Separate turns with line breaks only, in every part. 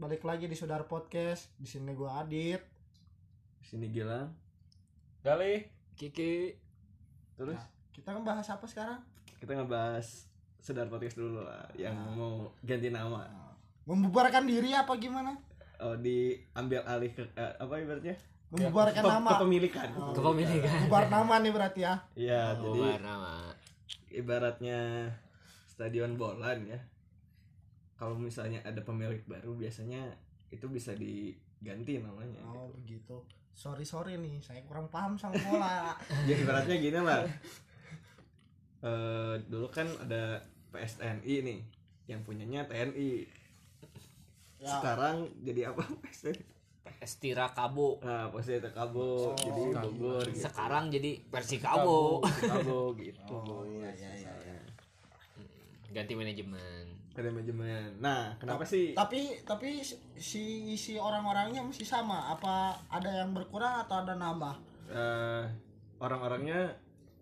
balik lagi di Sudar Podcast. Di sini gua Adit.
Sini Gilang.
Gali.
Kiki
Terus
Nah, kita ngebahas apa sekarang?
kita ngebahas sedar podcast dulu lah yang
Ah.
mau ganti nama.
Membubarkan diri apa gimana?
Oh, diambil alih ke eh, apa ibaratnya?
Membubarkan
Ke-
nama.
Kepemilikan.
Oh.
kepemilikan
Bubar nama nih berarti ya.
Iya, jadi
Bubar nama
ibaratnya stadion bola nih ya. Kalau misalnya ada pemilik baru biasanya itu bisa diganti namanya
Oh,
gitu.
begitu. Sorry sorry nih, saya kurang paham sama bola.
Ya ibaratnya gini lah. Eh, dulu kan ada PSTNI nih yang punyanya TNI.
ya,
Sekarang jadi apa PSTNI?
Estira Kabo
Nah, pasti ada kabo,
Oh,
jadi
kabo.
Bogor gitu.
sekarang jadi versi Kabo
kabo gitu.
Oh, iya, iya, iya, iya.
ganti manajemen
Ada manajemen. Nah, kenapa sih?
tapi tapi si si orang-orangnya masih sama. Apa ada yang berkurang atau ada nambah?
eh, orang-orangnya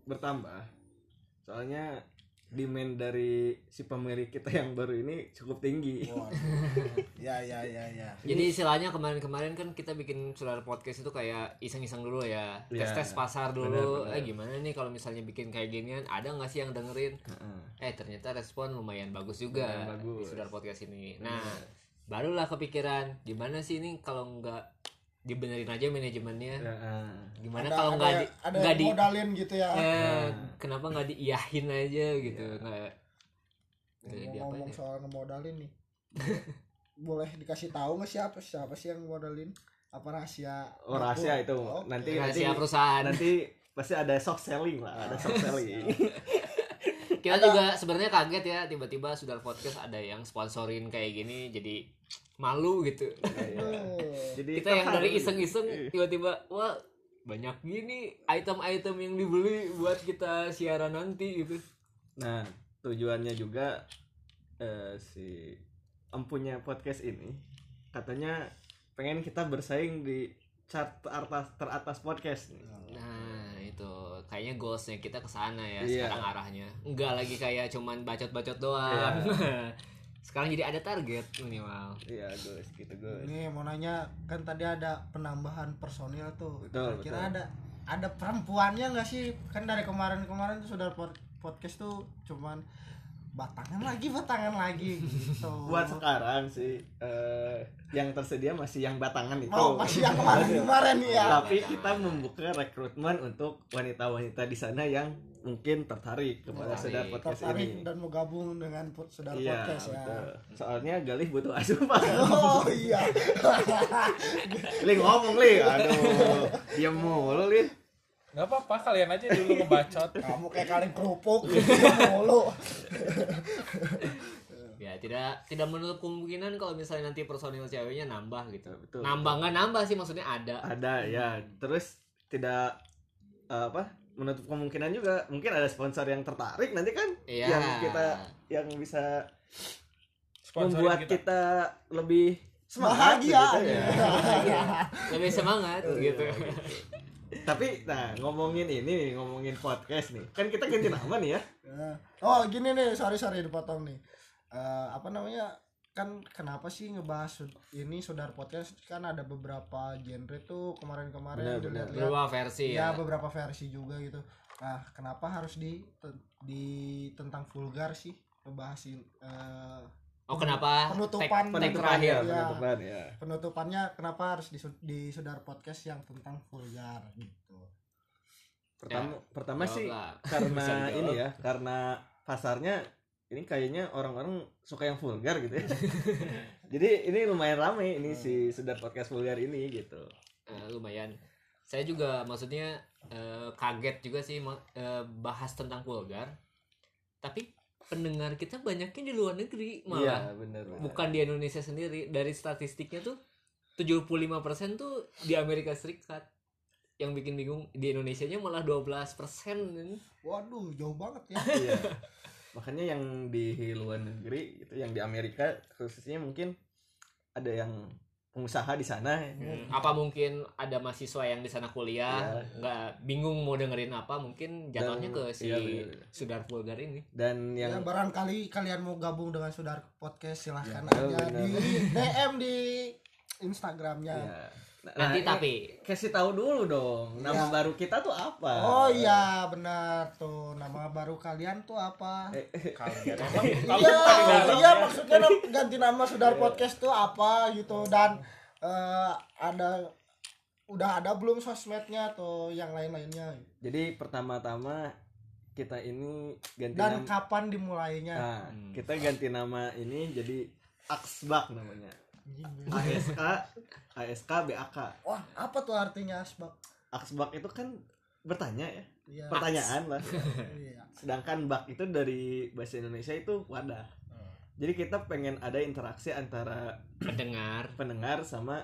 bertambah. Soalnya demand dari si pemilik kita yang baru ini cukup tinggi.
Oh.
ya ya ya ya.
jadi istilahnya kemarin-kemarin kan kita bikin saudara podcast itu kayak iseng-iseng dulu ya
Iya.
tes tes pasar dulu
Benar, benar.
eh gimana nih kalau misalnya bikin kayak ginian ada nggak sih yang dengerin
Heeh.
eh ternyata respon lumayan bagus juga
Lumayan
di
bagus.
saudara podcast ini nah barulah kepikiran gimana sih ini kalau nggak dibenerin aja manajemennya
Heeh.
gimana kalau nggak di
ada
nggak
yang
di
modalin gitu ya.
eh,
Nah. Iya.
kenapa nggak diiyahin aja gitu nggak nggak diapain
ngomong
ya?
soal ngemodalin nih boleh dikasih tahu nggak siapa siapa sih yang modalin apa rahasia
Oh, rahasia itu.
Oh,
Nanti iya, nanti
rahasia ya, perusahaan
nanti pasti ada soft selling lah, ada soft selling.
Iya. kita juga sebenarnya kaget ya tiba-tiba sudah podcast ada yang sponsorin kayak gini jadi malu gitu
Iya,
Aduh.
Jadi
kita yang
terharu. gitu.
dari
Iya.
iseng-iseng tiba-tiba wah banyak gini item-item yang dibeli buat kita siaran nanti gitu
Nah, tujuannya juga eh, si empunya podcast ini katanya pengen kita bersaing di chart teratas, teratas podcast nih.
nah itu kayaknya goalsnya kita ke sana ya
Iya.
sekarang arahnya nggak lagi kayak cuman bacot-bacot doang sekarang jadi ada target minimal
Iya, guys, gitu guys.
ini mau nanya kan tadi ada penambahan personil tuh
Betul,
kira
betul.
ada ada perempuannya nggak sih kan dari kemarin-kemarin tuh sudah pod- podcast tuh cuman batangan lagi batangan lagi gitu
Buat sekarang sih eh, yang tersedia masih yang batangan itu.
mau masih yang kemarin-kemarin nih ya
Tapi kita membuka rekrutmen untuk wanita-wanita di sana yang mungkin tertarik kepada sedar
Tertarik.
podcast
tertarik
ini.
dan mau gabung dengan pod- saudara
Iya,
podcast ya
betul. Soalnya Galih butuh asupan.
oh iya
Li ngomong Li, aduh, diam mulu Li.
Gak apa-apa kalian aja dulu ngebacot.
kamu kayak kaleng kerupuk
Iya.
gitu mulu
ya tidak tidak menutup kemungkinan kalau misalnya nanti personil ceweknya nambah gitu
Betul.
nambah nggak nambah sih maksudnya ada
Ada ya, terus tidak eh, apa menutup kemungkinan juga mungkin ada sponsor yang tertarik nanti kan
Iya.
yang kita yang bisa
Sponsorin
membuat kita. lebih semangat
bahagia
gitu ya.
lebih semangat gitu
Tapi nah ngomongin ini nih, ngomongin podcast nih, kan kita ganti nama nih ya.
Nah, oh gini nih sorry sorry dipotong nih Eh, apa namanya kan kenapa sih ngebahas sud- ini saudara podcast kan ada beberapa genre tuh kemarin-kemarin
Benar, benar.
dilihat-lihat
berubah versi
ya
ya,
beberapa versi juga gitu nah kenapa harus di te- di tentang vulgar sih ngebahasin eh,
oh kenapa
Penutupan.
tag, tag
Penutupan
terakhir
ya.
penutupan ya.
penutupannya kenapa harus di, sud- di saudara podcast yang tentang vulgar gitu
Pertama pertama sih
Jawab lah.
karena
Bisa dijawab.
ini ya karena pasarnya ini kayaknya orang-orang suka yang vulgar gitu ya jadi ini lumayan rame ini
Hmm.
si sedar podcast vulgar ini gitu
Eh, lumayan saya juga maksudnya eh, kaget juga sih ma- eh, bahas tentang vulgar tapi pendengar kita banyaknya di luar negeri
iya
malah
bener
bukan di Indonesia sendiri dari statistiknya tuh 75% tuh di Amerika Serikat yang bikin bingung di Indonesia nya malah 12% ini.
waduh jauh banget ya
iya makanya yang di luar negeri gitu yang di Amerika khususnya mungkin ada yang pengusaha di sana
Hmm, Apa mungkin ada mahasiswa yang di sana kuliah
Iya.
nggak bingung mau dengerin apa mungkin jatuhnya
Dan-
ke si Iya,
iya, bener-bener.
Sudar Vulgar ini.
dan
Ya,
yang
barangkali kalian mau gabung dengan Sudar Podcast silahkan aja
Ya, benar.
di DM di Instagramnya.
ya. Nah,
Nanti
eh,
tapi
kasih tahu dulu dong nama
Iya.
baru kita tuh apa
Oh iya benar tuh nama baru kalian tuh apa?
Eh, eh,
Kaget. Emang kalau
Iya,
kita di
iya
dalamnya
maksudnya nam- ganti nama Sudar
Iya.
Podcast tuh apa gitu dan eh, ada udah ada belum sosmednya atau yang lain-lainnya
jadi pertama-tama kita ini ganti
dan
nama
kapan dimulainya?
nah,
Hmm.
kita ganti nama ini jadi Aksbak namanya ASK ASK BAK
Wah apa tuh artinya asbak?
Aksbak itu kan bertanya ya
Iya.
pertanyaan lah
Iya.
sedangkan bak itu dari bahasa Indonesia itu wadah
Hmm.
jadi kita pengen ada interaksi antara
pendengar
pendengar sama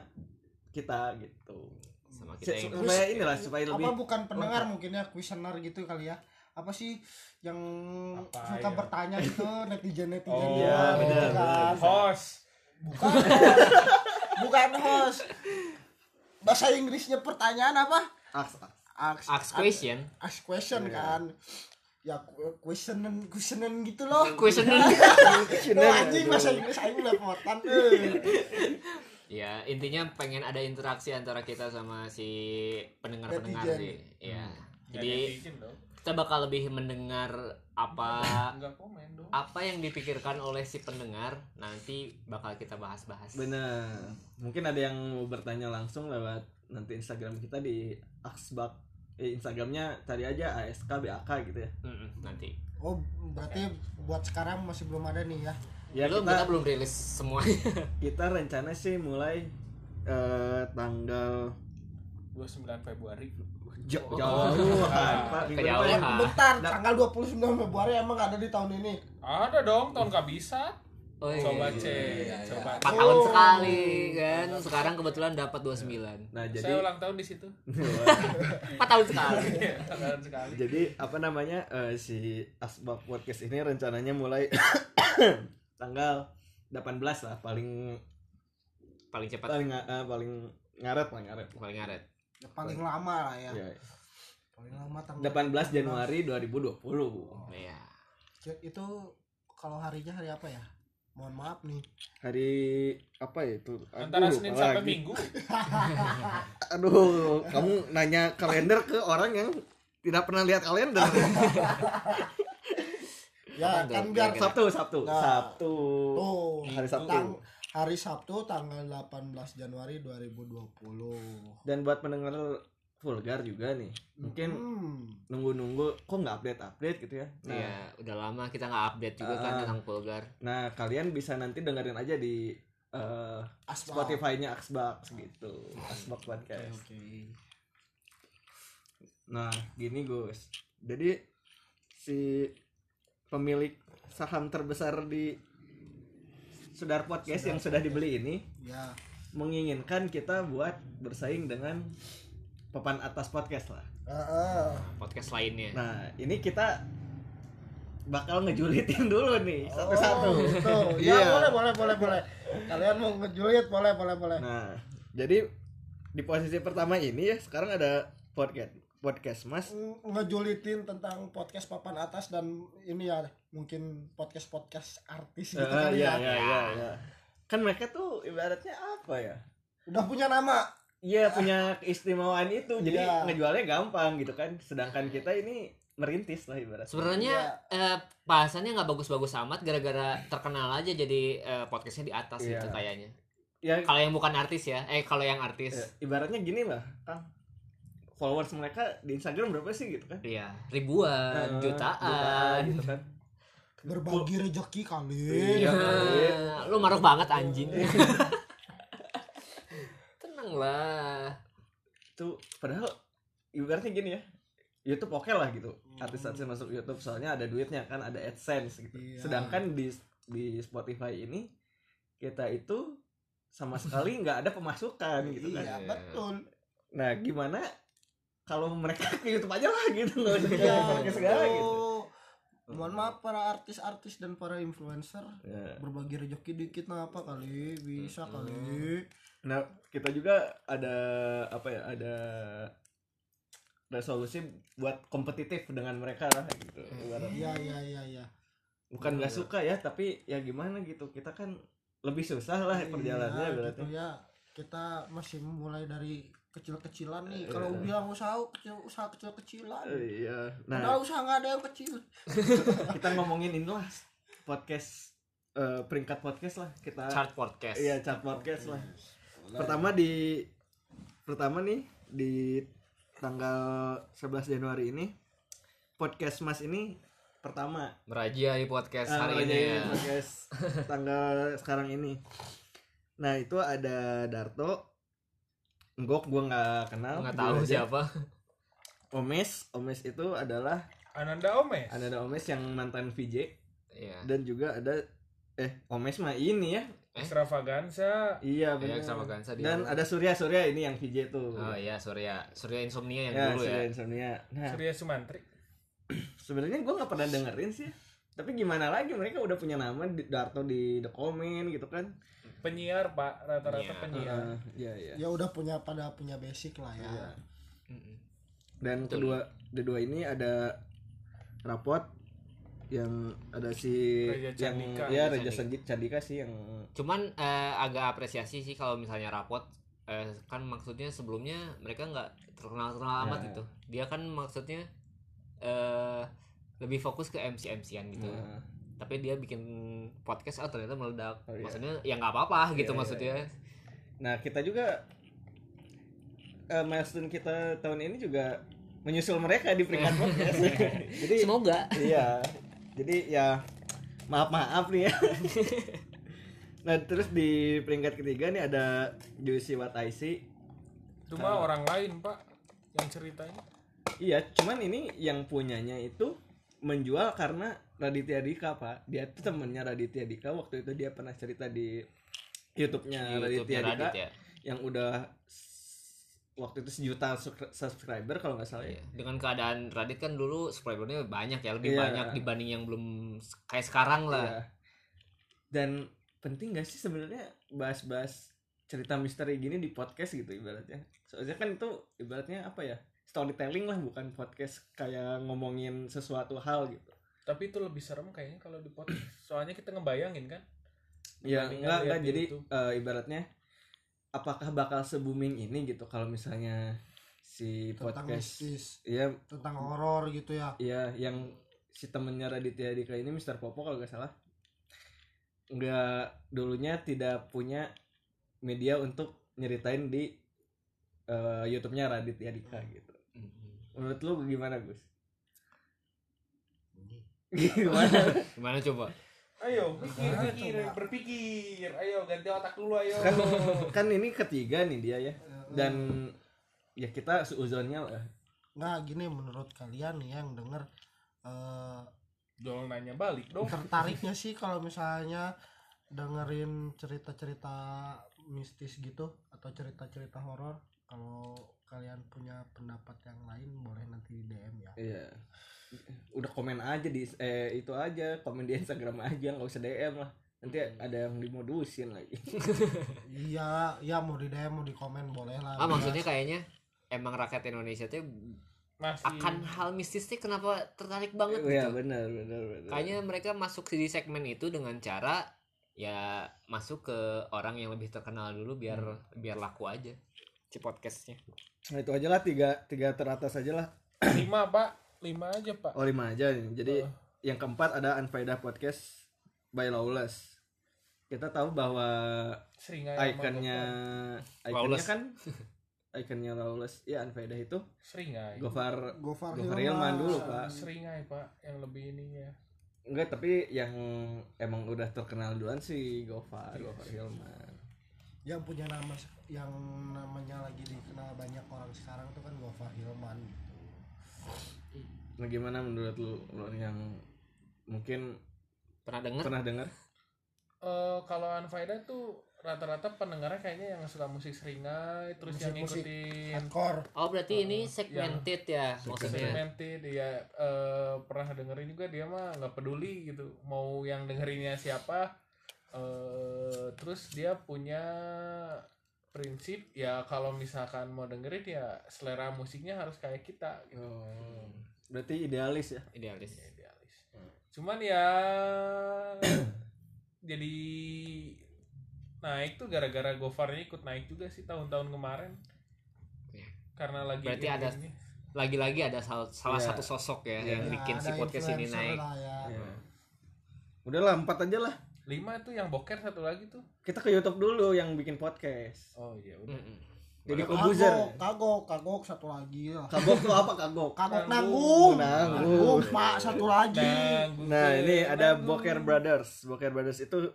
kita gitu
sama kita
Se-
yang
supaya inilah supaya
apa
lebih
bukan pendengar mungkin ya kuesioner gitu kali ya apa sih yang
Apa,
suka
ya?
bertanya itu netizen netizen
Oh,
gitu
iya,
benar,
kan.
host.
bukan bukan host bahasa Inggrisnya pertanyaan apa
aks- aks.
ask,
ask question.
ask question
Iya.
kan ya ku- questionen questionen gitu loh
Question.
Loh,
Gitu.
anjing bahasa Inggris aing lepotan
Iya.
eh.
ya, intinya pengen ada interaksi antara kita sama si pendengar-pendengar sih.
Netizen.
Ya.
Hmm.
Jadi
Jadi kita bakal lebih mendengar apa
enggak komen dong.
apa yang dipikirkan oleh si pendengar nanti bakal kita bahas-bahas.
bener mungkin ada yang mau bertanya langsung lewat nanti Instagram kita di aksbak eh, Instagramnya cari aja ASK BAK gitu ya
Mm-mm, nanti.
oh berarti buat sekarang masih belum ada nih ya
ya
Belum,
kita
kita belum rilis semuanya.
kita rencana sih mulai eh, tanggal
29 Februari.
jauh
Oh.
jauh
Kejauhan. Ah.
bentar tanggal 29 Februari emang ada di tahun ini
Ada dong tahun kabisa.
Oh, iya.
Coba cek,
iya,
coba.
iya.
4
Oh.
tahun sekali kan. Sekarang kebetulan dapat 29.
nah
cek.
jadi
Saya ulang tahun di situ.
4 tahun sekali.
Tahun sekali.
Jadi apa namanya eh, si Asbak Podcast ini rencananya mulai tanggal 18 lah paling
Paling cepat,
paling nga- eh, paling ngaret lah ngaret.
paling ngaret.
Ya, paling lama lah ya.
Ya,
Paling lama tanggal
18 Januari 2020.
Iya.
Ki- Itu kalau harinya hari apa ya? Mohon maaf nih.
Hari apa ya itu? Aduh,
Antara
lupa
Senin sampai
lagi.
Minggu.
Aduh, kamu nanya kalender ke orang yang tidak pernah lihat kalender.
Ya,
Kapan tuh?
kan biar
Kira-kira.
Sabtu, Sabtu,
Nah. Oh.
Sabtu.
Tuh,
Hari Sabtu.
tang- hari Sabtu tanggal 18 Januari 2020.
Dan buat pendengar vulgar juga nih. Mungkin
Hmm.
nunggu-nunggu kok nggak update-update gitu ya. Nah,
Iya, udah lama kita nggak update juga kan
Ah.
tentang Pulgar.
Nah, kalian bisa nanti dengerin aja di eh,
Asbak.
Spotify-nya Asbak gitu. Asbak
Oke,
Podcast.
oke.
Nah, gini Gus. Jadi si pemilik saham terbesar di Sudar Podcast yang sudah dibeli ini
Ya,
menginginkan kita buat bersaing dengan papan atas podcast lah.
Heeh.
Podcast lainnya.
Nah, ini kita bakal ngejulitin dulu nih satu-satu.
Oh, tuh. Ya,
Iya.
boleh, boleh, boleh, boleh. Kalian mau ngejulit boleh, boleh, boleh.
Nah, jadi di posisi pertama ini ya sekarang ada podcast podcast Mas.
Nge- ngejulitin tentang podcast papan atas dan ini ya mungkin podcast podcast artis gitu
Ah,
kali ya.
iya, iya, iya. Kan mereka tuh ibaratnya apa ya?
udah punya nama
Iya punya keistimewaan itu, jadi
Iya.
ngejualnya gampang gitu kan. Sedangkan kita ini merintis lah ibaratnya.
Sebenarnya
Iya.
eh, bahasannya nggak bagus-bagus amat gara-gara terkenal aja jadi eh, podcastnya di atas
Iya.
gitu kayaknya.
Ya
Kalau yang bukan artis ya, eh kalau yang artis,
eh, ibaratnya gini lah, Kang. Followers mereka di Instagram berapa sih gitu kan?
iya ribuan,
Eh,
jutaan.
gitu kan.
berbagi rezeki kali
Iya.
Ah, lu maruk banget anjing. Tenang lah.
Itu padahal ibaratnya gini ya. YouTube oke lah gitu.
Hmm.
Artis-artis masuk YouTube soalnya ada duitnya kan, ada AdSense gitu.
Iya.
Sedangkan di di Spotify ini kita itu sama sekali nggak ada pemasukan gitu kan.
iya betul
Nah, gimana kalau mereka ke YouTube aja lah gitu loh. Jadi
Iya,
segala gitu.
tuh. mohon maaf para artis-artis dan para influencer
Ya.
nah berbagi rezeki dikit mah apa kali bisa kali
Nah, kita juga ada apa ya? Ada resolusi buat kompetitif dengan mereka lah gitu. Ibaratnya.
Iya iya iya iya.
Bukan nggak suka ya, tapi ya gimana gitu. Kita kan lebih susah lah perjalanannya
Iya,
berarti.
gitu ya. Kita masih mulai dari kecil-kecilan nih.
Iya.
Kalau bilang usaha kecil usaha kecil-kecilan.
Iya. Nah,
Padahal usaha nggak ada yang kecil.
kita ngomongin inilah podcast eh, peringkat podcast lah kita.
Chart podcast. iya.
Iya, chart podcast lah. Pertama di pertama nih di tanggal 11 Januari ini podcast Mas ini pertama
Merajai
Eh,
podcast hari ini
ngerayain
ya.
podcast tanggal sekarang ini. Nah, itu ada Darto Ngok gua nggak kenal.
Nggak
jujur
tahu
aja.
siapa.
Omes, Omes itu adalah
Ananda Omes.
ada Omes yang mantan VJ
Iya.
dan juga ada eh Omes mah ini ya.
Extravaganza.
Iya benar.
Iya, sama Gansa di
Dan ada Surya Surya ini yang VJ tuh.
Oh iya, Surya. Surya Insomnia yang
ya,
dulu
Surya
ya.
Insomnia. Nah,
Surya Sumantri.
sebenarnya gue nggak pernah dengerin sih. Tapi gimana lagi mereka udah punya nama di- Darto di The Comment gitu kan.
Penyiar, Pak. Rata-rata
Penyiar.
penyiar.
Ah, Iya, iya.
Ya udah punya pada punya basic lah ya.
Iya.
Mm-mm.
Dan
Betul.
kedua kedua ini ada rapot yang ada si
Raja
yang
Candika.
ya
Raja
Raja
Candika.
Candi- Candika sih yang
Cuman eh, agak apresiasi sih kalau misalnya rapot eh, kan maksudnya sebelumnya mereka nggak terkenal terkenal amat
Ya.
gitu. Dia kan maksudnya eh lebih fokus ke MC MCan gitu.
Nah,
Tapi dia bikin podcast oh ternyata meledak.
Oh, iya.
Maksudnya ya nggak apa-apa
Iya,
gitu
iya,
maksudnya.
Nah, kita juga eh, milestone kita tahun ini juga menyusul mereka di peringkat podcast. Jadi
Semoga.
iya jadi ya maaf maaf nih ya nah terus di peringkat ketiga nih ada Juicy What I See
Cuma orang lain, Pak. Yang ceritanya.
iya cuman ini yang punyanya itu menjual karena Raditya Dika pak dia tuh temennya Raditya Dika waktu itu dia pernah cerita di YouTube-nya Nah, Raditya
YouTube-nya
Dika
Radit ya.
yang udah s- waktu itu sejuta suk- subscriber kalau nggak salah ya
Iya. Dengan keadaan Radit kan dulu subscribernya banyak ya,
Iya.
lebih banyak dibanding yang belum s- kayak sekarang
Iya.
lah.
Dan penting gak sih sebenarnya bahas-bahas cerita misteri gini di podcast gitu ibaratnya. Soalnya kan itu ibaratnya apa ya? Storytelling lah bukan podcast kayak ngomongin sesuatu hal gitu.
Tapi itu lebih serem kayaknya kalau di podcast. Soalnya kita ngebayangin kan.
Ya
Dibandingkan
enggak enggak
lihat gitu. di
jadi
YouTube.
eh, ibaratnya apakah bakal se booming ini gitu kalau misalnya si
Tentang
podcast
mistis,
ya
tentang horor gitu ya.
Iya, yang si temennya Raditya Dika ini Mr. Popo kalau nggak salah. Nggak dulunya tidak punya media untuk nyeritain di eh, YouTube-nya Raditya Dika gitu.
Mm-mm.
Menurut lu gimana, Gus? gimana?
Gimana coba?
Ayo, pikir,
Nah,
pikir,
coba.
berpikir. Ayo, ganti otak dulu, ayo.
kan kan ini ketiga nih dia ya. Dan ya kita seuzonnya lah.
Nah, gini menurut kalian nih yang denger eh
Jol nanya balik dong.
tertariknya sih kalau misalnya dengerin cerita-cerita mistis gitu atau cerita-cerita horor kalau kalian punya pendapat yang lain boleh nanti di DM ya
Iya. Udah komen aja di eh itu aja, komen di Instagram aja, nggak usah DM lah. Nanti ada yang dimodusin lagi.
iya ya mau di DM mau di komen boleh
Iya.
lah
Ah maksudnya kayaknya emang rakyat Indonesia tuh
Masih.
akan hal mistis tuh kenapa tertarik banget
Hmm. Iya
gitu.
benar benar benar.
Kayaknya mereka masuk di segmen itu dengan cara ya masuk ke orang yang lebih terkenal dulu biar
Hmm.
biar laku aja si podcastnya.
Nah, itu aja lah tiga tiga teratas aja lah.
lima, Pak. Lima aja, Pak.
Oh lima aja. nih. Jadi
Oh.
yang keempat ada Unfaedah Podcast by Lawless. Kita tahu bahwa
Seringai sama
ikonnya
Gofar.
ikonnya
Eh, Lawless.
kan ikonnya Lawless ya Unfaedah itu
Seringai.
Gofar
Gofar
Gofar
Hilman.
Hilman dulu
Sama
pak.
Seringai, Pak. Yang lebih ininya.
Enggak tapi yang emang udah terkenal duluan sih Gofar Gofar Hilman.
yang punya nama yang namanya lagi dikenal banyak orang sekarang tuh kan Gofar Hilman gitu.
Nah gimana menurut lu Lon, yang mungkin
Pernah denger?
pernah dengar?
Eh kalau Anfaida tuh rata-rata pendengarnya kayaknya yang suka musik seringai, terus yang
Musik-musik
ngikutin
hardcore
Oh berarti ini
Iya.
segmented ya maksudnya.
segmented dia eh, pernah dengerin juga dia mah nggak peduli gitu mau yang dengerinnya siapa eh terus dia punya prinsip ya kalau misalkan mau dengerin ya selera musiknya harus kayak kita gitu.
Oh. Berarti idealis ya.
idealis
Ya, idealis. Cuman ya jadi naik tuh gara-gara Gofarnya ikut naik juga sih tahun-tahun kemarin.
Iya.
Karena lagi
Berarti ada-
ini-
lagi-lagi ada sal- salah
Iya.
satu sosok ya
Iya.
yang bikin si
Nah, ada
podcast ini
influencer
naik
lah ya.
Iya.
Ya. Udahlah empat aja lah.
lima tuh yang boker satu lagi tuh.
Kita ke YouTube dulu yang bikin podcast.
Oh iya udah.
Mm-mm.
Jadi
Boleh.
Kobuzer.
kagok kagok kagok satu lagi lah
Kagok tuh apa kagok?
kagok nanggung
Nanggung.
Nanggung.
nanggung pak satu lagi
Nah, gue-
Nah ini ada
nah, gue-
Boker Brothers. Boker Brothers itu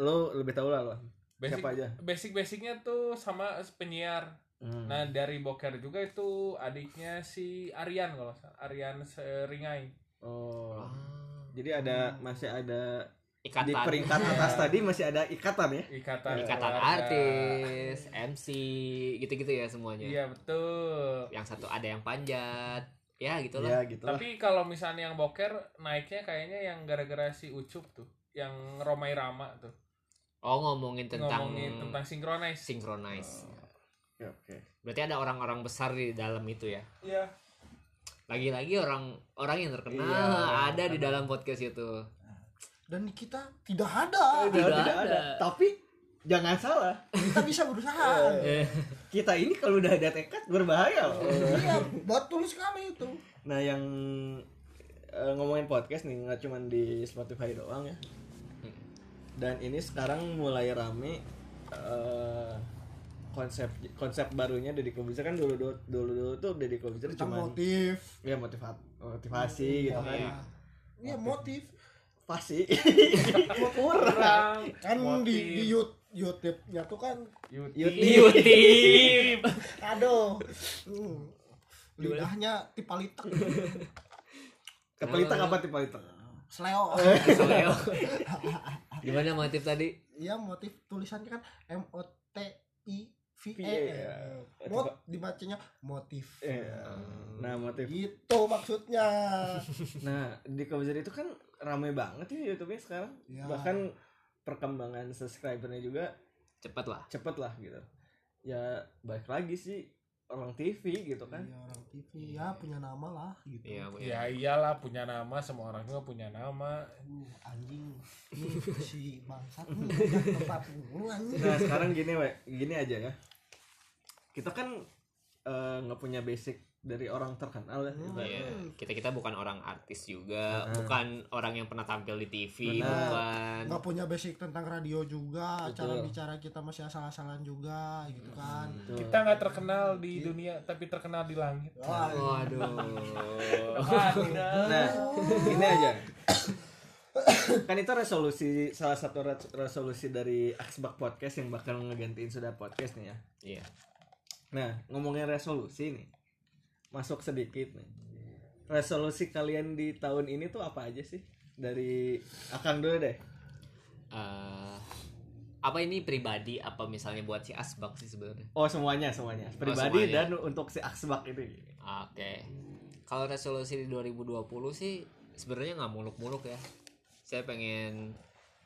lo lebih tahu lah lo.
Basic,
Siapa aja?
Basic-basicnya tuh sama penyiar.
Hmm.
Nah dari Boker juga itu adiknya si Aryan kalau nggak salah. Arian Seringai.
Oh. Hmm.
Ah,
Jadi ada masih ada di
ikatan
peringkat atas
Iya.
tadi masih ada ikatan ya.
Ikatan,
ikatan
Keluarga.
artis MC gitu-gitu ya semuanya
Iya betul.
yang satu ada yang panjat ya gitulah
Ya gitu lah.
Tapi kalau misalnya yang boker naiknya kayaknya yang gara-gara si Ucup tuh, yang Romai Rama tuh.
oh ngomongin tentang
ngomongin tentang synchronize.
synchronize
Ya, Oke.
berarti ada orang-orang besar di dalam itu ya
Iya.
lagi-lagi orang orang yang terkenal
Iya, orang
ada di
terkenal.
dalam podcast itu
dan di kita tidak ada
Tidak,
Tidak
tidak ada.
ada.
Tapi jangan salah.
kita bisa berusaha
Eh,
Kita ini kalau udah ada tekad berbahaya. loh.
iya betul sekali itu
Nah yang eh, ngomongin podcast nih nggak cuma di Spotify doang ya. Dan ini sekarang mulai rame eh, konsep konsep barunya Deddy Kobuzer kan dulu dulu dulu, dulu tuh Deddy Kobuzer
tentang
cuma
motif
ya motivat motivasi gitu kan.
Iya. iya motif
Pasti
Kurang.
kan di
Motif.
di YouTube YouTube-nya tuh kan
YouTube
YouTube
aduh hmm, lidahnya tipalitek
Kepelita
Iya.
apa tipalita?
seleo
Soleo. oh. gimana motif tadi
iya motif tulisannya kan M O T I V E
Iya.
mot dibacanya motif
Iya. Nah motif.
gitu maksudnya
Nah di Kobuzer itu kan rame banget ya YouTube-nya sekarang.
Iya.
Bahkan perkembangan subscribernya juga
cepat lah
cepet lah gitu ya baik lagi sih orang TV gitu kan
Iya, orang TV ya punya nama lah gitu
iya Bu, ya.
Ya iyalah punya nama semua orang juga punya nama.
Uh, anjing ini si bangsat nih udah tempat mulu anjing
nah sekarang gini we gini aja ya kita kan eh, nggak punya basic dari orang terkenal ya gitu.
Iya. kita kita bukan orang artis juga
Heeh.
bukan orang yang pernah tampil di TV
Benar.
bukan
nggak punya basic tentang radio juga
Betul.
cara bicara kita masih asal-asalan juga gitu kan
Tuh.
Kita nggak terkenal di dunia tapi terkenal di langit.
Wah,
waduh
Ah, tidak.
nah gini aja kan itu resolusi salah satu res- resolusi dari Aksbak Podcast yang bakal ngegantiin sudah podcast nih ya
iya
Nah, ngomongin resolusi nih. Masuk sedikit nih. Resolusi kalian di tahun ini tuh apa aja sih? Dari Akang dulu deh.
Eh, apa ini pribadi apa misalnya buat si Asbak sih sebenarnya
Oh, semuanya, semuanya. Pribadi
semuanya.
dan untuk si Aksbak itu.
Oke. Kalau resolusi di 2020 sih sebenarnya nggak muluk-muluk ya. Saya pengen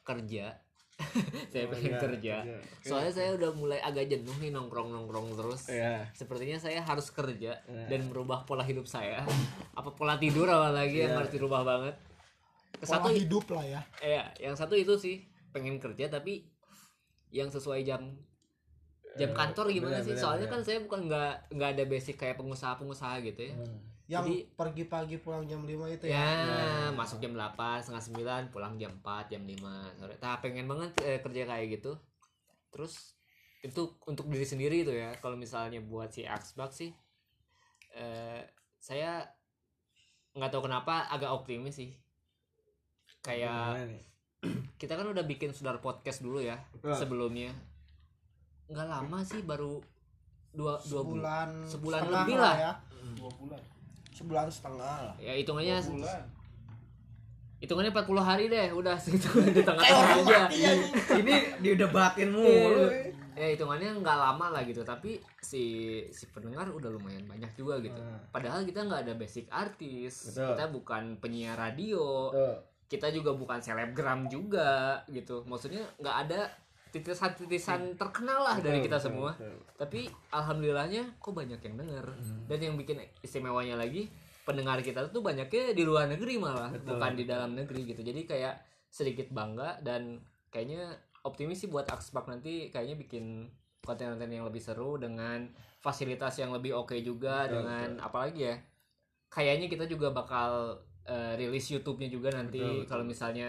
kerja. saya
Oh,
pengen
iya,
kerja.
kerja. Oke.
Soalnya saya udah mulai agak jenuh nih nongkrong-nongkrong terus.
Iya.
Sepertinya saya harus kerja
Iya.
dan merubah pola hidup saya. Apa pola tidur awal lagi yang
Iya.
harus dirubah banget.
pola
Kesatu
hidup lah ya
ya, yang satu itu sih pengen kerja tapi yang sesuai jam jam kantor
Iya,
gimana
benar,
sih?
benar,
Soalnya
benar.
kan saya bukan nggak nggak ada basic kayak pengusaha-pengusaha gitu
Iya,
ya.
Hmm,
yang
Jadi-
pergi pagi pulang jam 5 itu
Ya,
ya
iya.
masuk jam 8, setengah 9, pulang jam 4, jam 5 sore. Tah pengen banget eh, kerja kayak gitu. Terus itu untuk diri sendiri itu ya. Kalau misalnya buat si Xbox sih eh saya nggak tahu kenapa agak optimis sih. Kayak
Gimana nih?
kita kan udah bikin saudara podcast dulu ya
Betul.
sebelumnya. Nggak lama sih baru dua dua
sebulan
bulan. Sebulan
setengah
lebih lah.
ya
Dua bulan.
sebulan setengah lah
Ya hitungannya
Dua bulan.
hitungannya 40 hari deh udah segitu
kayak
di tengah-tengah
orang
aja.
mati ya. anjing.
ini didebatin
Iya,
mulu.
ya hitungannya nggak lama lah gitu tapi si si pendengar udah lumayan banyak juga gitu
Hmm.
padahal kita nggak ada basic artis
Betul.
kita bukan penyiar radio
Tuh.
kita juga bukan selebgram juga gitu maksudnya nggak ada titisan-titisan terkenal lah dari
Iya. Betul,
kita
betul,
semua.
betul. Hmm.
Tapi alhamdulillahnya kok banyak yang denger. Dan yang bikin istimewanya lagi pendengar kita tuh banyaknya di luar negeri malah,
Betul.
bukan di dalam negeri gitu. Jadi kayak sedikit bangga dan kayaknya optimis sih buat Akspak nanti kayaknya bikin konten-konten yang lebih seru dengan fasilitas yang lebih oke juga
Betul,
dengan apalagi ya. Kayaknya kita juga bakal eh, rilis YouTube-nya juga nanti
Betul, betul.
kalau misalnya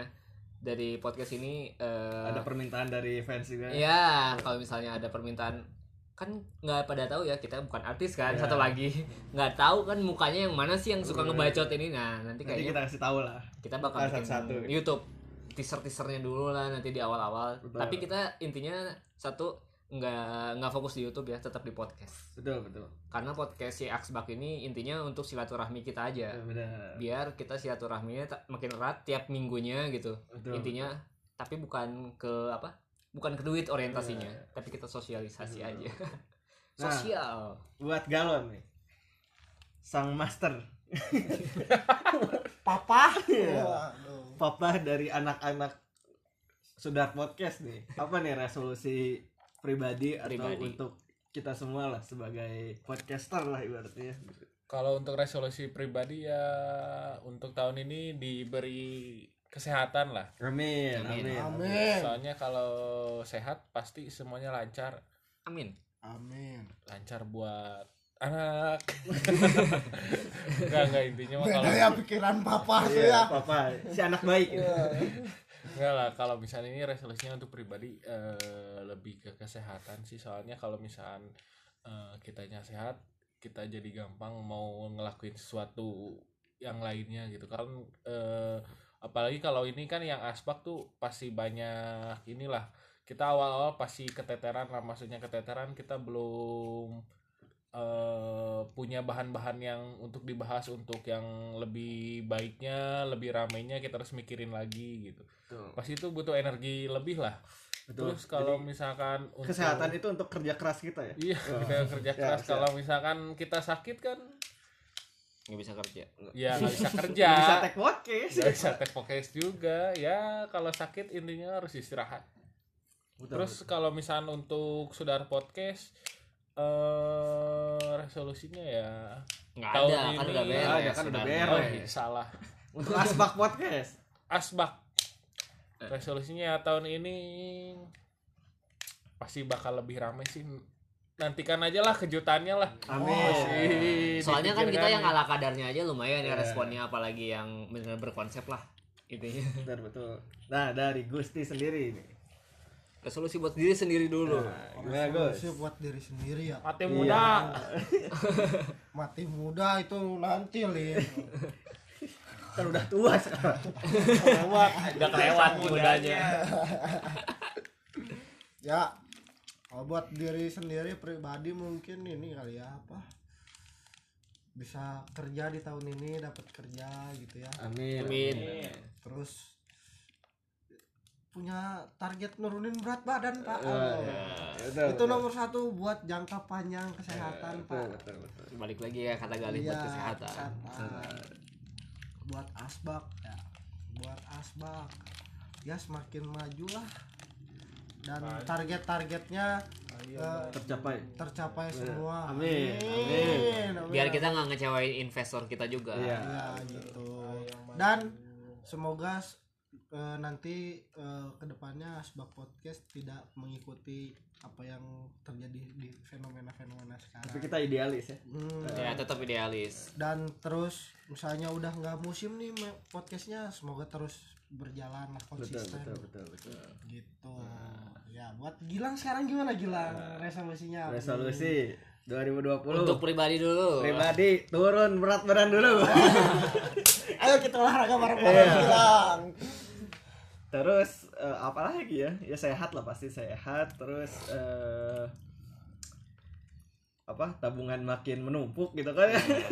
dari podcast ini eh,
Ada permintaan dari fans juga.
Iya, kalau misalnya ada permintaan kan nggak pada tahu ya kita bukan artis kan
Iya.
satu lagi nggak tahu kan mukanya yang mana sih yang suka
Betul.
ngebacot ini nah nanti
Nanti
kayaknya
kita kasih tahu lah.
kita, bakal
kita
bikin
satu-satu.
YouTube teaser teasernya dulu lah nanti di awal awal
Betul.
tapi kita intinya satu nggak nggak fokus di YouTube ya tetap di podcast
Betul, betul.
karena podcast si Aksbak ini intinya untuk silaturahmi kita aja
Iya, Ya. Benar.
biar kita silaturahminya ta- makin erat tiap minggunya gitu
Betul.
intinya tapi bukan ke apa bukan ke duit orientasinya tapi kita sosialisasi
Iya. Betul.
aja
Nah.
sosial
Buat galon nih. Sang master.
Papa.
Iya.
Waduh.
Papa dari anak-anak Sudar Podcast nih. Apa nih resolusi pribadi, atau
Pribadi.
untuk kita semua lah sebagai podcaster lah ibaratnya.
Kalau untuk resolusi pribadi ya untuk tahun ini diberi kesehatan lah.
Amin,
Amin.
amin.
Amin.
Soalnya kalau sehat pasti semuanya lancar.
amin
Amin.
Lancar buat anak. enggak enggak intinya mah
Beda
kalau
ya pikiran papa tuh
Iya,
ya.
Papa, si anak baik.
enggak lah kalau misalnya ini resolusinya untuk pribadi eh, lebih ke kesehatan sih. Soalnya kalau misalnya kitanya sehat, kita jadi gampang mau ngelakuin sesuatu yang lainnya gitu kan eh, apalagi kalau ini kan yang aspak tuh pasti banyak inilah kita awal-awal pasti keteteran lah maksudnya keteteran kita belum eh, punya bahan-bahan yang untuk dibahas untuk yang lebih baiknya lebih ramainya kita harus mikirin lagi gitu
Tuh,
pasti itu butuh energi lebih lah
Betul.
terus kalau
Jadi,
misalkan untuk-
kesehatan itu untuk kerja keras kita ya.
iya
Oh.
kita kerja
Ya,
keras
siap.
kalau misalkan kita sakit kan
nggak bisa kerja
ya Iya. nggak bisa kerja
Nggak Bisa tag podcast.
Gak bisa take podcast juga ya kalau sakit intinya harus istirahat
Betul,
terus kalau misalnya untuk saudara podcast eh resolusinya ya
nggak
Tahun
ada kan
ini-
udah beres
Ah, ya kan udah
sebenarnya.
beres.
oh, iya, salah
betul. untuk asbak podcast.
asbak
Eh.
resolusinya ya, tahun ini pasti bakal lebih ramai sih nantikan aja lah kejutannya lah
Amin.
Masih
soalnya kan kita
dipikirkan
yang ala kadarnya aja lumayan ya
Iya.
responnya apalagi yang benar berkonsep lah intinya
Benar betul. Nah, dari Gusti sendiri nih.
resolusi buat diri sendiri dulu
Nah, gimana Gus?
Resolusi buat diri sendiri ya.
Iya.
mati muda
Mati muda itu nanti lin.
Kan udah tua sekarang.
Lewat.
udah kelewat mudanya
ya kalau buat diri sendiri pribadi mungkin ini kali ya apa bisa kerja di tahun ini dapat kerja gitu ya
Amin.
amin
Iya.
terus punya target nurunin berat badan pak
Ah,
Oh.
ya. Ya, betul,
itu
betul.
nomor satu buat jangka panjang kesehatan
Betul,
pak
betul, betul.
balik lagi ya kata Galih buat
Iya,
kesehatan
kesehatan. buat asbak ya buat asbak ya semakin maju lah dan target-targetnya eh,
Tercapai.
tercapai semua.
Amin.
Amin.
biar kita nggak ngecewain investor kita juga
Iya.
ya gitu. Dan semoga s- eh, nanti eh, kedepannya sebab podcast tidak mengikuti apa yang terjadi di fenomena-fenomena
Tapi
sekarang.
kita idealis ya.
Hmm,
ya tetap idealis
Dan terus misalnya udah nggak musim nih me- podcastnya, semoga terus berjalan lah
Betul,
konsisten
betul, Nah. betul, betul.
gitu. Ya buat Gilang sekarang gimana Gilang resolusinya? apa nih?
Nah, Resolusi 2020.
Untuk pribadi dulu.
pribadi turun berat badan dulu.
Ayo kita olahraga bareng-bareng
Iya.
Gilang.
terus eh, apa lagi ya ya sehat lah pasti sehat terus eh, apa tabungan makin menumpuk gitu kan
Iya.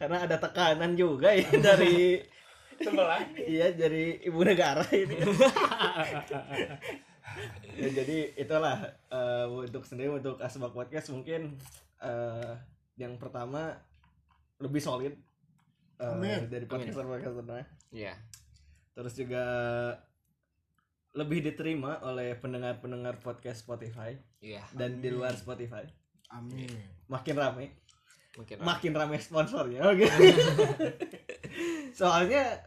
karena ada tekanan juga ya dari
sebelah
iya dari ibu negara ini Ya, jadi itulah eh, untuk sendiri untuk asbak podcast mungkin eh, yang pertama lebih solid eh,
Amin.
dari podcaster podcaster
Iya.
terus juga lebih diterima oleh pendengar-pendengar podcast Spotify
Iya,
dan di luar Spotify
Amin.
makin rame
mungkin.
makin rame sponsornya oke soalnya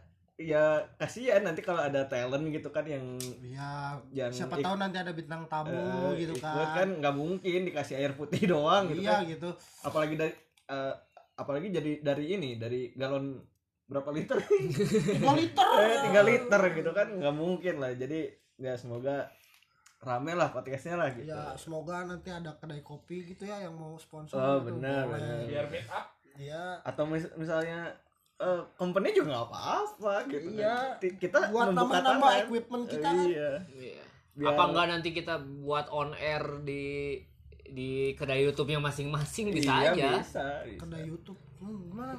ya kasihan nanti kalau ada talent gitu kan yang
Ya,
Yang
siapa
ik-
tahu nanti ada bintang tamu
eh,
gitu
ikut
kan.
nggak mungkin dikasih air putih doang gitu
iya
kan.
gitu.
apalagi dari eh, apalagi jadi dari ini dari galon berapa liter
Tiga liter.
eh tiga liter gitu kan nggak mungkin lah jadi ya semoga rame lah podcastnya lah gitu
Ya, semoga nanti ada kedai kopi gitu ya yang mau sponsor.
Oh,
gitu,
benar,
boleh.
benar.
biar ah, meet up
Iya.
atau mis- misalnya eh company juga nggak apa-apa gitu kan.
Iya.
Ti- kita
Buat
membuka
nama-nama
tangan.
equipment kita
Eh,
kan.
iya
Iya.
Biar-
Apa enggak nanti kita buat on air di di kedai YouTube-nya masing-masing bisa
Iya,
aja.
bisa, bisa.
Kedai YouTube. Hmm, gimana?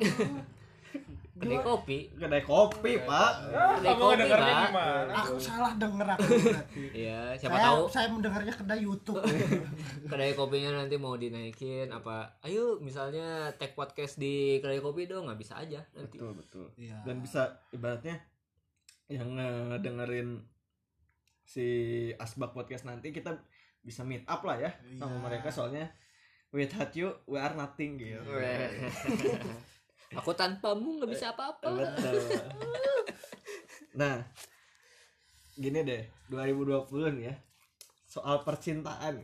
Kedai
Gimana?
kopi.
kedai kopi pak
ah,
Kedai
kamu
kopi,
dengarnya
Pak.
gimana
aku salah denger aku berarti.
Iya, siapa
saya,
tahu
saya mendengarnya kedai YouTube.
kedai kopinya nanti mau dinaikin apa? Ayo misalnya tag podcast di kedai kopi dong, nggak bisa aja nanti.
betul betul
Iya.
dan bisa ibaratnya yang dengerin si asbak podcast nanti kita bisa meet up lah ya sama
Iya.
mereka soalnya without you we are nothing gitu
Aku tanpamu nggak bisa apa-apa.
betul nah gini deh 2020 nih ya soal percintaan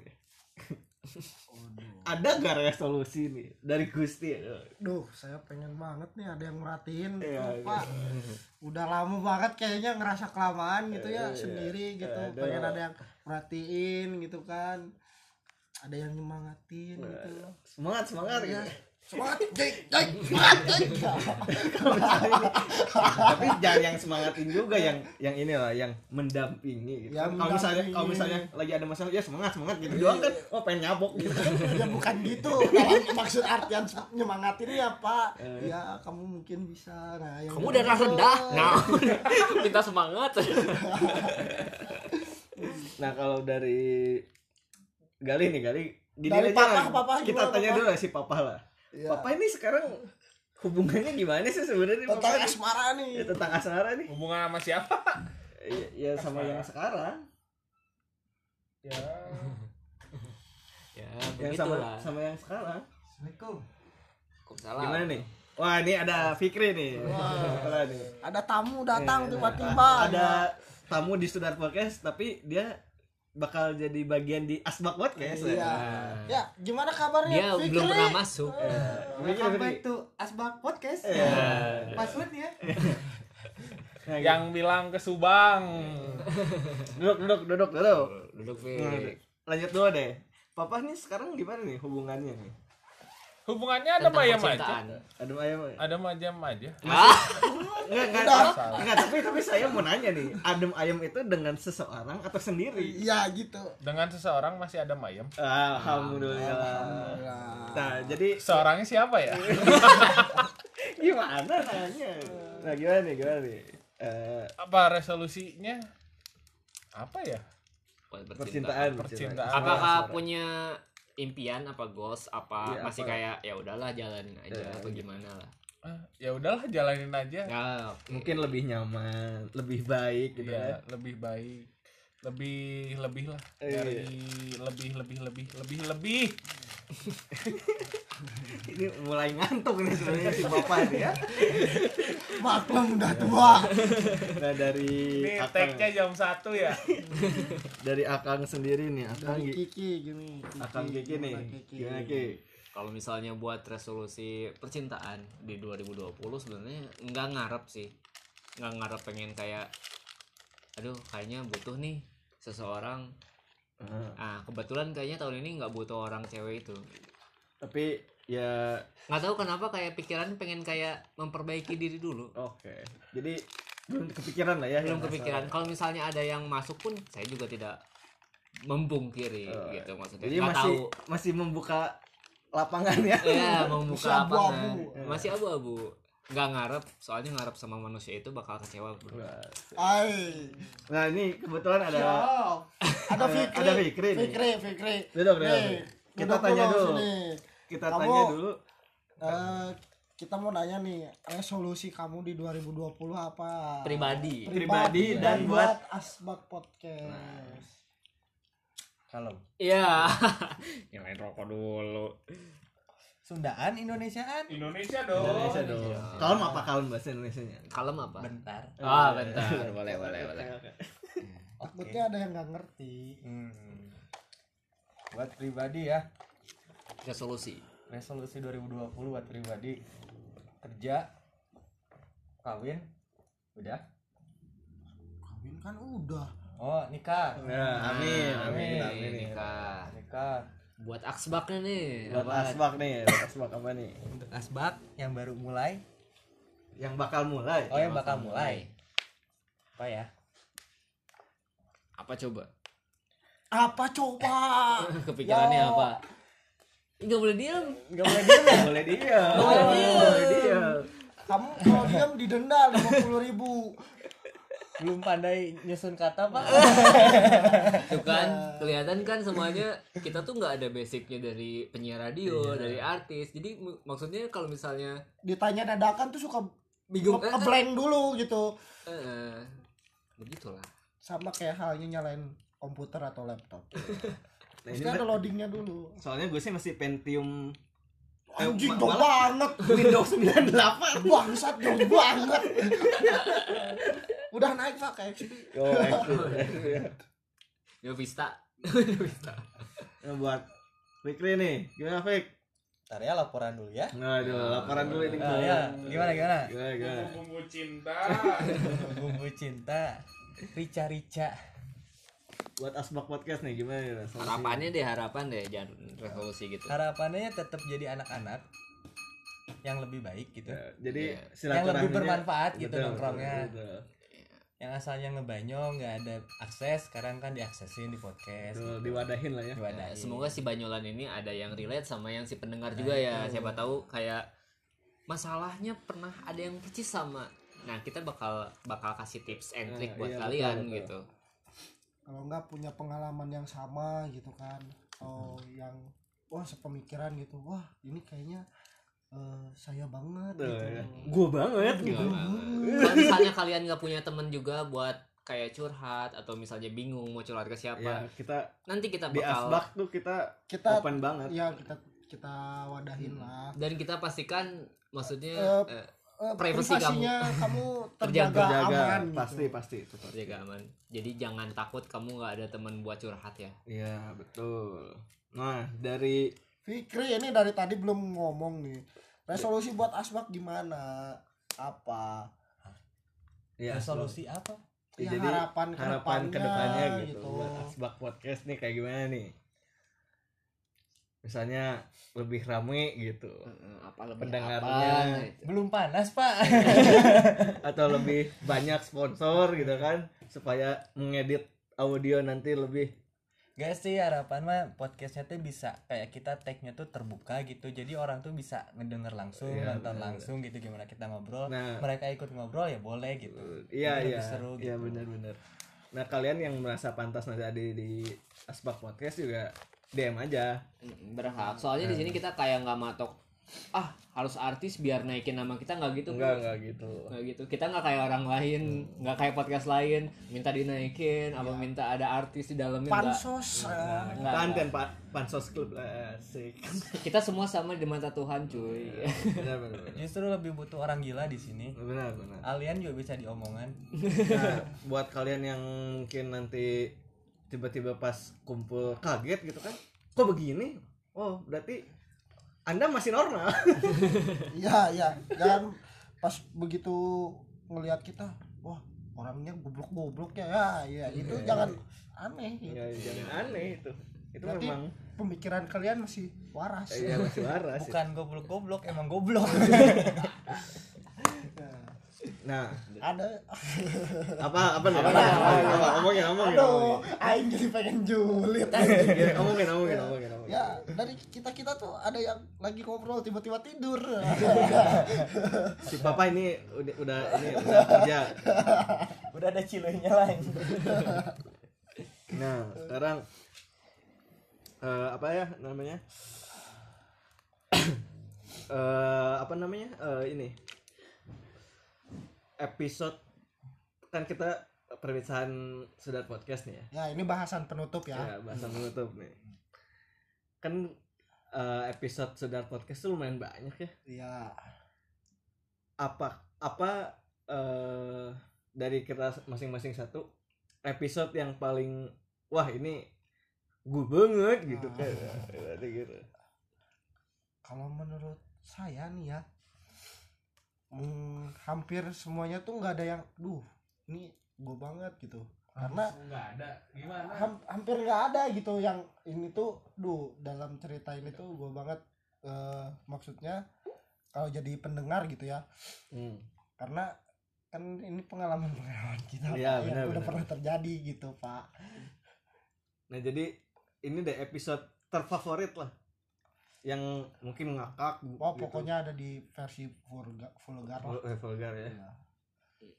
Waduh.
ada gak resolusi nih dari Gusti
Duh, saya pengen banget nih ada yang merhatiin tuh,
Iya,
Pak. Udah lama banget kayaknya ngerasa kelamaan gitu ya
Iya, iya.
sendiri gitu.
Aduh.
Pengen ada yang merhatiin gitu kan. Ada yang nyemangatin
Iya,
gitu.
semangat semangat
Iya.
gitu.
Semangat, jeng, jeng, semangat, jeng.
tapi jangan yang semangatin juga yang yang inilah yang mendampingi gitu.
Ya,
kalau misalnya
mendampingi. Iya.
kalau misalnya lagi ada masalah ya semangat semangat gitu doang kan oh pengen nyabok gitu
ya bukan gitu Dalam maksud artian sem- nyemangatin ya pak
Iya.
ya kamu mungkin bisa nah yang
Kamu
gitu.
darah rendah. Nah, minta semangat.
nah kalau dari Gali nih Gali gini
Dari
aja lah.
Papah, Papah
kita
gimana,
tanya
Papah?
dulu lah si Papa lah
Iya.
Papa ini sekarang hubungannya gimana sih sebenarnya
tentang
Papa?
asmara nih
ya, tentang asmara nih
hubungan sama siapa
ya, ya sama yang sekarang
ya
ya,
yang sama
begitulah.
sama yang sekarang
assalamualaikum
Waalaikumsalam.
gimana nih wah ini ada Fikri nih Kebetulan nih
ada tamu datang
Eh,
tiba-tiba Iya.
ada tamu di Sudar Podcast tapi dia bakal jadi bagian di Asbak Podcast.
ya. Iya. ya gimana kabarnya
Dia
Fikri?
belum pernah masuk.
Iya. Welcome back
Ya, to Asbak Podcast
Iya.
Ya, passwordnya
Nah, gitu.
yang bilang ke Subang
duduk duduk duduk duduk.
Duduk,
Nah,
Fik.
lanjut dulu deh. Papa nih sekarang gimana nih hubungannya nih?
hubungannya ada
Tentang
mayam aja
percintaan.
Aduh ayam.
ada mayam aja
Ah,
Enggak enggak. Enggak, tapi tapi saya mau nanya nih, adem ayam itu dengan seseorang atau sendiri?
iya gitu
dengan seseorang masih ada mayam
Alhamdulillah. Nah, jadi
seorangnya siapa ya
gimana nanya? Nah, gimana nih? Gimana nih? Eh,
apa resolusinya apa ya
buat
percintaan,
Percintaan.
Apakah punya impian apa goals apa
Iya,
masih
apa?
kayak ya udahlah jalanin aja
Ya,
apa gimana lah.
Ah, ya udahlah jalanin aja
Ya,
mungkin lebih nyaman, lebih baik gitu
ya.
Iya, lebih baik lebih lebih lah
Iya.
dari lebih lebih lebih lebih lebih
kan. Ini mulai ngantuk nih sebenarnya si bapak nih ya.
maklum udah tua
Nah dari
ini
akang,
tag-nya jam satu ya
dari akang sendiri nih, akang
dari
Gi-
Kiki gini Kiki,
akang Kiki nih.
gimana Kiki?
Gimana Ki?
kalau misalnya buat resolusi percintaan di 2020 sebenarnya nggak ngarep sih. Nggak ngarep pengen kayak aduh kayaknya butuh nih seseorang.
Ah,
Ah, kebetulan kayaknya tahun ini nggak butuh orang cewek itu.
tapi ya
Nggak tahu kenapa kayak pikiran pengen kayak memperbaiki diri dulu.
oke. Jadi belum kepikiran lah ya. yang
belum kepikiran
masalah.
kalau misalnya ada yang masuk pun saya juga tidak membungkiri
Oh,
gitu maksudnya
Jadi
nggak
masih
tahu
masih membuka lapangan ya.
ya membuka
Masih abu-abu.
lapangan masih abu-abu nggak ngarep soalnya ngarep sama manusia itu bakal kecewa bro
Ay.
Nah ini kebetulan ada
Siap. ada
ada-
Fikri.
ada Fikri nih.
Fikri, Fikri.
Duduk, duduk.
Nih,
Kita
duduk
tanya dulu.
sini.
kita
Kamu-
tanya dulu
Eh, kita mau nanya nih resolusi kamu di 2020 apa
Iya.
pribadi
Pribadi dan buat-
asbak podcast
Kalau
iya
nyalain rokok dulu
Sundaan Indonesiaan
Indonesia dong
Indonesia dong. Kalem apa kalem bahasa Indonesia nya?
kalem apa
bentar.
ah bentar
boleh boleh boleh
takutnya ada yang nggak ngerti
Hmm. Buat pribadi ya.
resolusi
Resolusi 2020 buat pribadi kerja kawin udah.
kawin kan udah
Oh, nikah.
Ya, amin, amin,
Amin.
amin. nih.
nikah
Nikah.
kan. buat aksbaknya nih
Buat asbak nih, buat asbak apa nih?
Untuk asbak yang baru mulai.
Yang bakal mulai.
Oh, yang bakal mulai. Apa ya?
apa coba
apa coba
kepikirannya
Yo.
apa nggak boleh diam
Enggak boleh dia, enggak boleh dia. Nah, Enggak boleh dia.
kamu kalau diam didenda lima puluh ribu
Belum pandai nyusun kata, Pak.
tuh
Iya.
kan kelihatan kan semuanya kita tuh nggak ada basicnya dari penyiar radio
Iya.
dari artis jadi m- maksudnya kalau misalnya
ditanya dadakan tuh suka
bingung
nge-
eh,
ngeblank dulu gitu
eh, eh. begitulah
sama kayak halnya nyalain komputer atau laptop
Nah, ini
Pasti ada
ber-
loadingnya dulu
soalnya gue sih masih Pentium Eh,
anjing
ma-
jauh
malah-
banget
Windows 98.
bangsat jauh banget udah naik pak kayak XP
Yo, Iya,
Yo Vista
Nah, buat Fikri nih, gimana Fik?
Ntar ya laporan dulu ya.
Aduh, laporan dulu ini.
Ah, ya. Gimana gimana?
Gimana, gimana?
bumbu cinta
Bumbu cinta. Rica rica.
Buat Asbak Podcast nih, gimana nih? resolusi?
harapannya deh harapan deh jangan resolusi
Iya.
gitu
Harapannya tetap jadi anak-anak yang lebih baik gitu.
Ya, jadi
Iya.
silaturahminya
Yang lebih bermanfaat gitu
Betul,
nongkrongnya.
betul,
Yang asalnya ngebanyol nggak ada akses, sekarang kan diaksesin di podcast.
betul. Diwadahin lah ya.
Ya,
Diwadahin.
semoga si Banyolan ini ada yang relate sama yang si pendengar
Nah,
juga ya. Siapa tahu kayak masalahnya pernah ada yang percis sama. Nah, kita bakal bakal kasih tips
Nah,
and trick buat
iya, betul,
kalian
betul.
gitu.
kalau nggak punya pengalaman yang sama gitu kan atau yang wah sepemikiran gitu wah ini kayaknya eh, saya banget
Tuh,
gitu
ya. Gua banget gitu.
Nggak apa-apa. Kalau misalnya kalian nggak punya temen juga buat kayak curhat atau misalnya bingung mau curhat ke
Ya,
siapa,
kita
nanti kita
di
bakal
Asbak tuh kita
kita
open banget.
ya kita kita wadahin lah
dan kita pastikan maksudnya
Eh,
eh,
Eh,
Privacy
privasinya kamu
Terjaga,
terjaga,
Jaga
aman
pasti
gitu.
pasti itu pasti.
terjaga eh, iya kan, aman. Jadi jangan takut kamu nggak ada temen buat curhat ya.
Iya, betul. Nah, dari
Fikri ini dari tadi belum ngomong nih resolusi buat asbak gimana apa
ya,
Resolusi apa?
ya,
Jadi,
harapan
Asbak. harapan
kedepannya,
kedepannya gitu,
gitu,
buat Asbak Podcast nih kayak gimana nih? Misalnya lebih rame gitu
Eh, Apa lebih
Pendengarnya.
apa, gitu.
Belum panas, Pak.
atau lebih banyak sponsor gitu kan supaya mengedit audio nanti lebih
Gak sih harapan mah podcastnya tuh bisa kayak kita tag-nya tuh terbuka gitu jadi orang tuh bisa ngedenger langsung
Iya,
nonton
benar.
langsung gitu gimana kita ngobrol
Nah.
mereka ikut ngobrol ya boleh gitu
iya
Lebih
iya
seru
iya
gitu.
benar-benar nah kalian yang merasa pantas nanti ada di asbak podcast juga dm aja
Mm, berhak soalnya di
Hmm.
sini kita kayak nggak matok ah harus artis biar naikin nama kita nggak gitu
enggak
Bro.
enggak gitu
Nggak gitu kita nggak kayak orang lain
Hmm.
nggak kayak podcast lain minta dinaikin apa
Iya.
minta ada artis di dalamnya nggak.
pansos eh,
Nah,
Enggak,
konten pak pansos club lah asik
kita semua sama di mata Tuhan cuy
benar benar benar.
justru lebih butuh orang gila di sini
benar benar
Alian juga bisa diomongan
Nah, buat kalian yang mungkin nanti tiba-tiba pas kumpul kaget gitu kan kok begini oh berarti anda masih normal
Iya, iya. Dan pas begitu ngelihat kita, wah orangnya goblok-goblok ya, ya, ya itu jangan aneh. Gitu.
ya, jangan aneh itu itu
Berarti
memang
pemikiran kalian masih waras.
iya masih waras
bukan goblok goblok emang goblok
nah
Ada,
apa apa nih apa nih? apa apa ngomongin ngomongin
aduh, aing jadi pengen julid.
ngomongin ngomongin ngomongin ngomongin ngomongin
ya dari kita kita tuh ada yang lagi ngobrol tiba-tiba tidur.
si papa ini udah udah ini udah kerja
udah ada cilenya lain
nah sekarang eh apa ya namanya eh, apa namanya Eh, ini episode kan kita perpisahan sudah podcast nih ya
Ya ini bahasan penutup ya.
ya bahasa menutup nih kan eh, episode sudah podcast tuh lumayan banyak ya
Iya.
apa apa eh dari kita masing-masing satu episode yang paling wah ini gue banget gitu
Ah.
kan Berarti gitu.
Kalau menurut saya nih ya, hmm, hampir semuanya tuh nggak ada yang, duh, ini gue banget gitu. Karena
nggak ada gimana
ham- hampir nggak ada gitu yang ini tuh, duh, dalam cerita ini tuh gue banget. Eh, maksudnya kalau jadi pendengar gitu ya,
Hmm.
karena kan ini pengalaman pengalaman kita Pak,
Iya,
yang
benar,
udah
benar.
pernah terjadi gitu pak.
nah jadi ini deh episode terfavorit lah yang mungkin ngakak
Wah Oh,
gitu.
pokoknya ada di versi vulgar, vulgar lah.
Vul- eh, vulgar ya
Iya.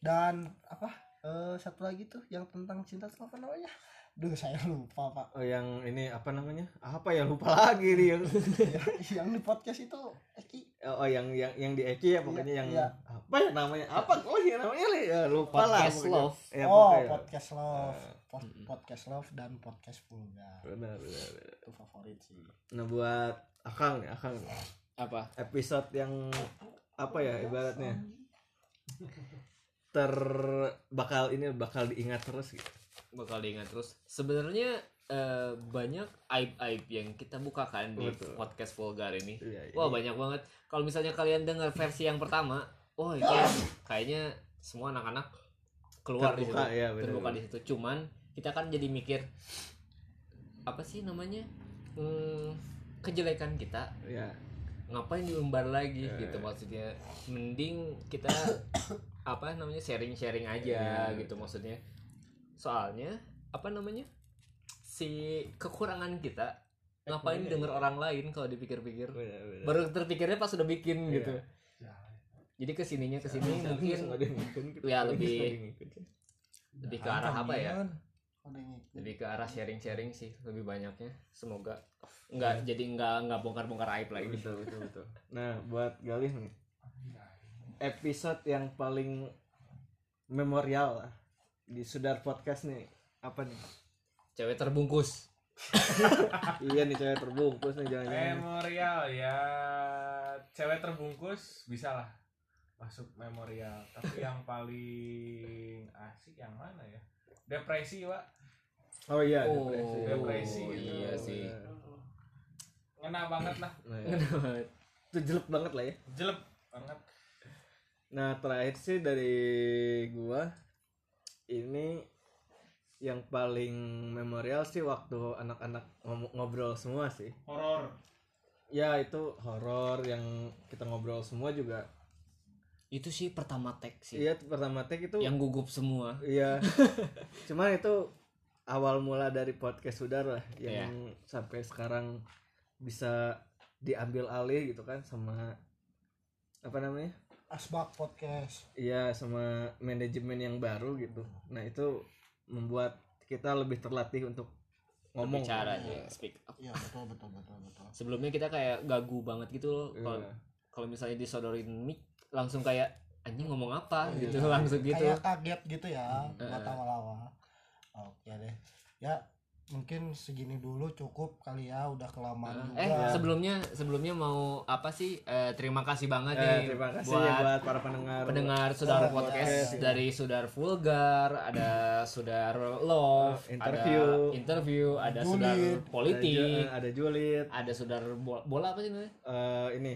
Dan apa? eh, satu lagi tuh yang tentang cinta tuh apa namanya? Duh saya lupa pak.
oh yang ini apa namanya apa ya lupa lagi nih yang
Iya, yang di podcast itu Eki.
oh yang yang yang di Eki ya pokoknya
Iya,
yang
iya.
apa ya namanya apa oh ya namanya Li? ya, lupa lah
Podcast
pokoknya.
love.
Ya,
oh
pokoknya.
podcast love,
Eh,
Pod-
mm-mm.
podcast love dan podcast vulgar
benar benar, benar.
itu favorit sih.
Nah buat Akang nih, Akang
apa
episode yang apa ya ibaratnya ter bakal ini bakal diingat terus gitu.
bakal diingat terus sebenarnya eh, banyak aib aib yang kita bukakan di
Betul.
podcast vulgar ini
Iya,
wah
ini-
banyak banget kalau misalnya kalian dengar versi yang pertama wah itu
Ah.
kayaknya semua anak-anak keluar
Terbuka,
di situ
iya, benar,
terbuka
benar.
di situ cuman kita kan jadi mikir apa sih namanya Hmm, kejelekan kita
ya.
ngapain diumbar lagi
Ya,
gitu
ya.
maksudnya mending kita apa namanya sharing-sharing
Ya,
aja gitu
betul.
maksudnya soalnya apa namanya si kekurangan kita ngapain
iya,
denger orang lain kalau dipikir-pikir
Benar, benar.
baru terpikirnya pas udah bikin
Iya.
gitu jadi kesininya kesini
Ini
mungkin
nggak ada yang ngikutin. Ini
Ya, lebih-
nggak ada yang ngikutin.
lebih ke arah apa ya
Udah ngikut.
lebih ke arah sharing-sharing sih lebih banyaknya semoga
Iya.
nggak jadi nggak nggak bongkar-bongkar aib lagi
Betul betul betul. Nah buat Galih nih episode yang paling memorial lah di Sudar Podcast nih apa nih?
cewek terbungkus
iya nih cewek terbungkus nih jangan-jangan.
Eh, memorial ya cewek terbungkus bisa lah masuk memorial tapi yang paling asik yang mana ya depresi pak
Oh iya.
Oh,
depresi.
depresi
Oh,
gitu.
iya sih.
ngena banget lah
Nah, ya. itu jelek banget lah ya.
jelek banget
Nah terakhir sih dari gua ini yang paling memorial sih waktu anak-anak ngom- ngobrol semua sih.
horor
Ya itu horor yang kita ngobrol semua juga.
itu sih pertama tag sih
Iya pertama tek itu.
yang gugup semua
Iya. Cuman itu awal mula dari podcast saudara lah yang sampai sekarang bisa diambil alih gitu kan sama apa namanya
Asbak podcast.
Iya sama manajemen yang baru gitu. Nah itu membuat kita lebih terlatih untuk ngomong.
bicara
Iya.
ya speak up
Iya betul betul betul betul.
sebelumnya kita kayak gagu banget gitu loh kalau
Iya.
kalau misalnya disodorin mic langsung kayak anjing ngomong apa
Iya.
gitu langsung gitu
kayak kaget gitu ya
Hmm.
buat
Eh.
awal-awal oke deh ya mungkin segini dulu cukup kali ya udah kelamaan
eh
juga
sebelumnya sebelumnya mau apa sih Eh, terima kasih banget
Eh,
nih
terima kasih
buat
ya buat para pendengar.
pendengar saudara
Iya,
podcast
iya, iya.
dari saudar vulgar ada saudar love
Eh, interview.
ada interview ada
Julid.
saudar
Ada Ju-
politik
eh, ada Julid.
ada saudar bola, bola apa sih namanya
Eh, ini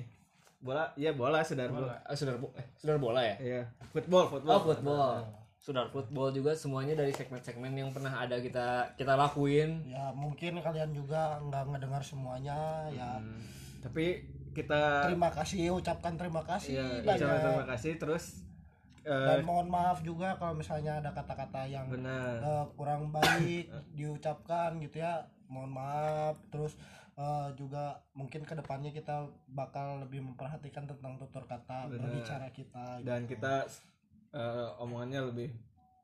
bola, iya bola saudara bola.
Eh, saudar bo- eh, saudar bola ya
Iya football, football.
Oh football. Sudah football juga semuanya dari segmen-segmen yang pernah ada kita kita lakuin.
ya mungkin kalian juga nggak ngedengar semuanya ya
Hmm.
Hmm, Tapi kita
terima kasih ucapkan terima kasih
iya,
banyak
ucapkan terima kasih terus.
dan
eh,
mohon maaf juga kalau misalnya ada kata-kata yang
benar.
eh, kurang baik diucapkan gitu ya mohon maaf terus eh, juga mungkin kedepannya kita bakal lebih memperhatikan tentang tutur kata
Benar.
berbicara kita gitu.
Dan kita eh, omongannya lebih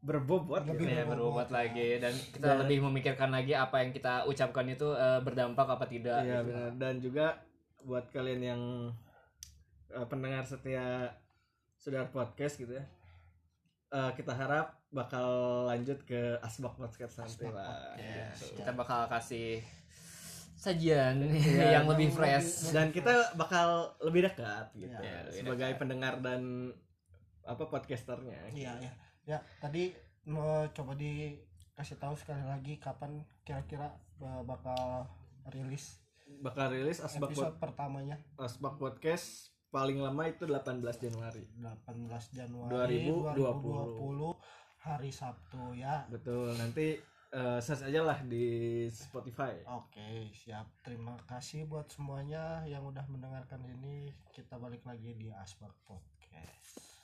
berbobot.
Lebih
gitu ya.
Ya, berobat lagi dan kita
Dan-
lebih memikirkan lagi apa yang kita
gitu.
ucapkan itu eh, berdampak apa tidak.
Iya benar dan juga buat kalian yang eh, pendengar setia Sudar Podcast gitu ya. Eh, kita harap bakal lanjut ke Asbak Podcast nanti lah. Gitu.
kita bakal kasih sajian yang
yang
Iya, lebih
lebih-
fresh
Dan kita bakal lebih dekat gitu.
Iya,
lebih
sebagai pendengar dan apa podcasternya.
Iya ya. Ya, tadi mau coba dikasih tahu sekali lagi kapan kira-kira uh, bakal rilis
Bakal rilis Asbak
episode pertamanya
Pod- Asbak Podcast paling lama itu 18 Januari.
18 Januari
2020.
2020 hari Sabtu ya.
Betul. Nanti eh, search aja lah di Spotify.
Oke, siap. Terima kasih buat semuanya yang udah mendengarkan ini. Kita balik lagi di Asbak Podcast.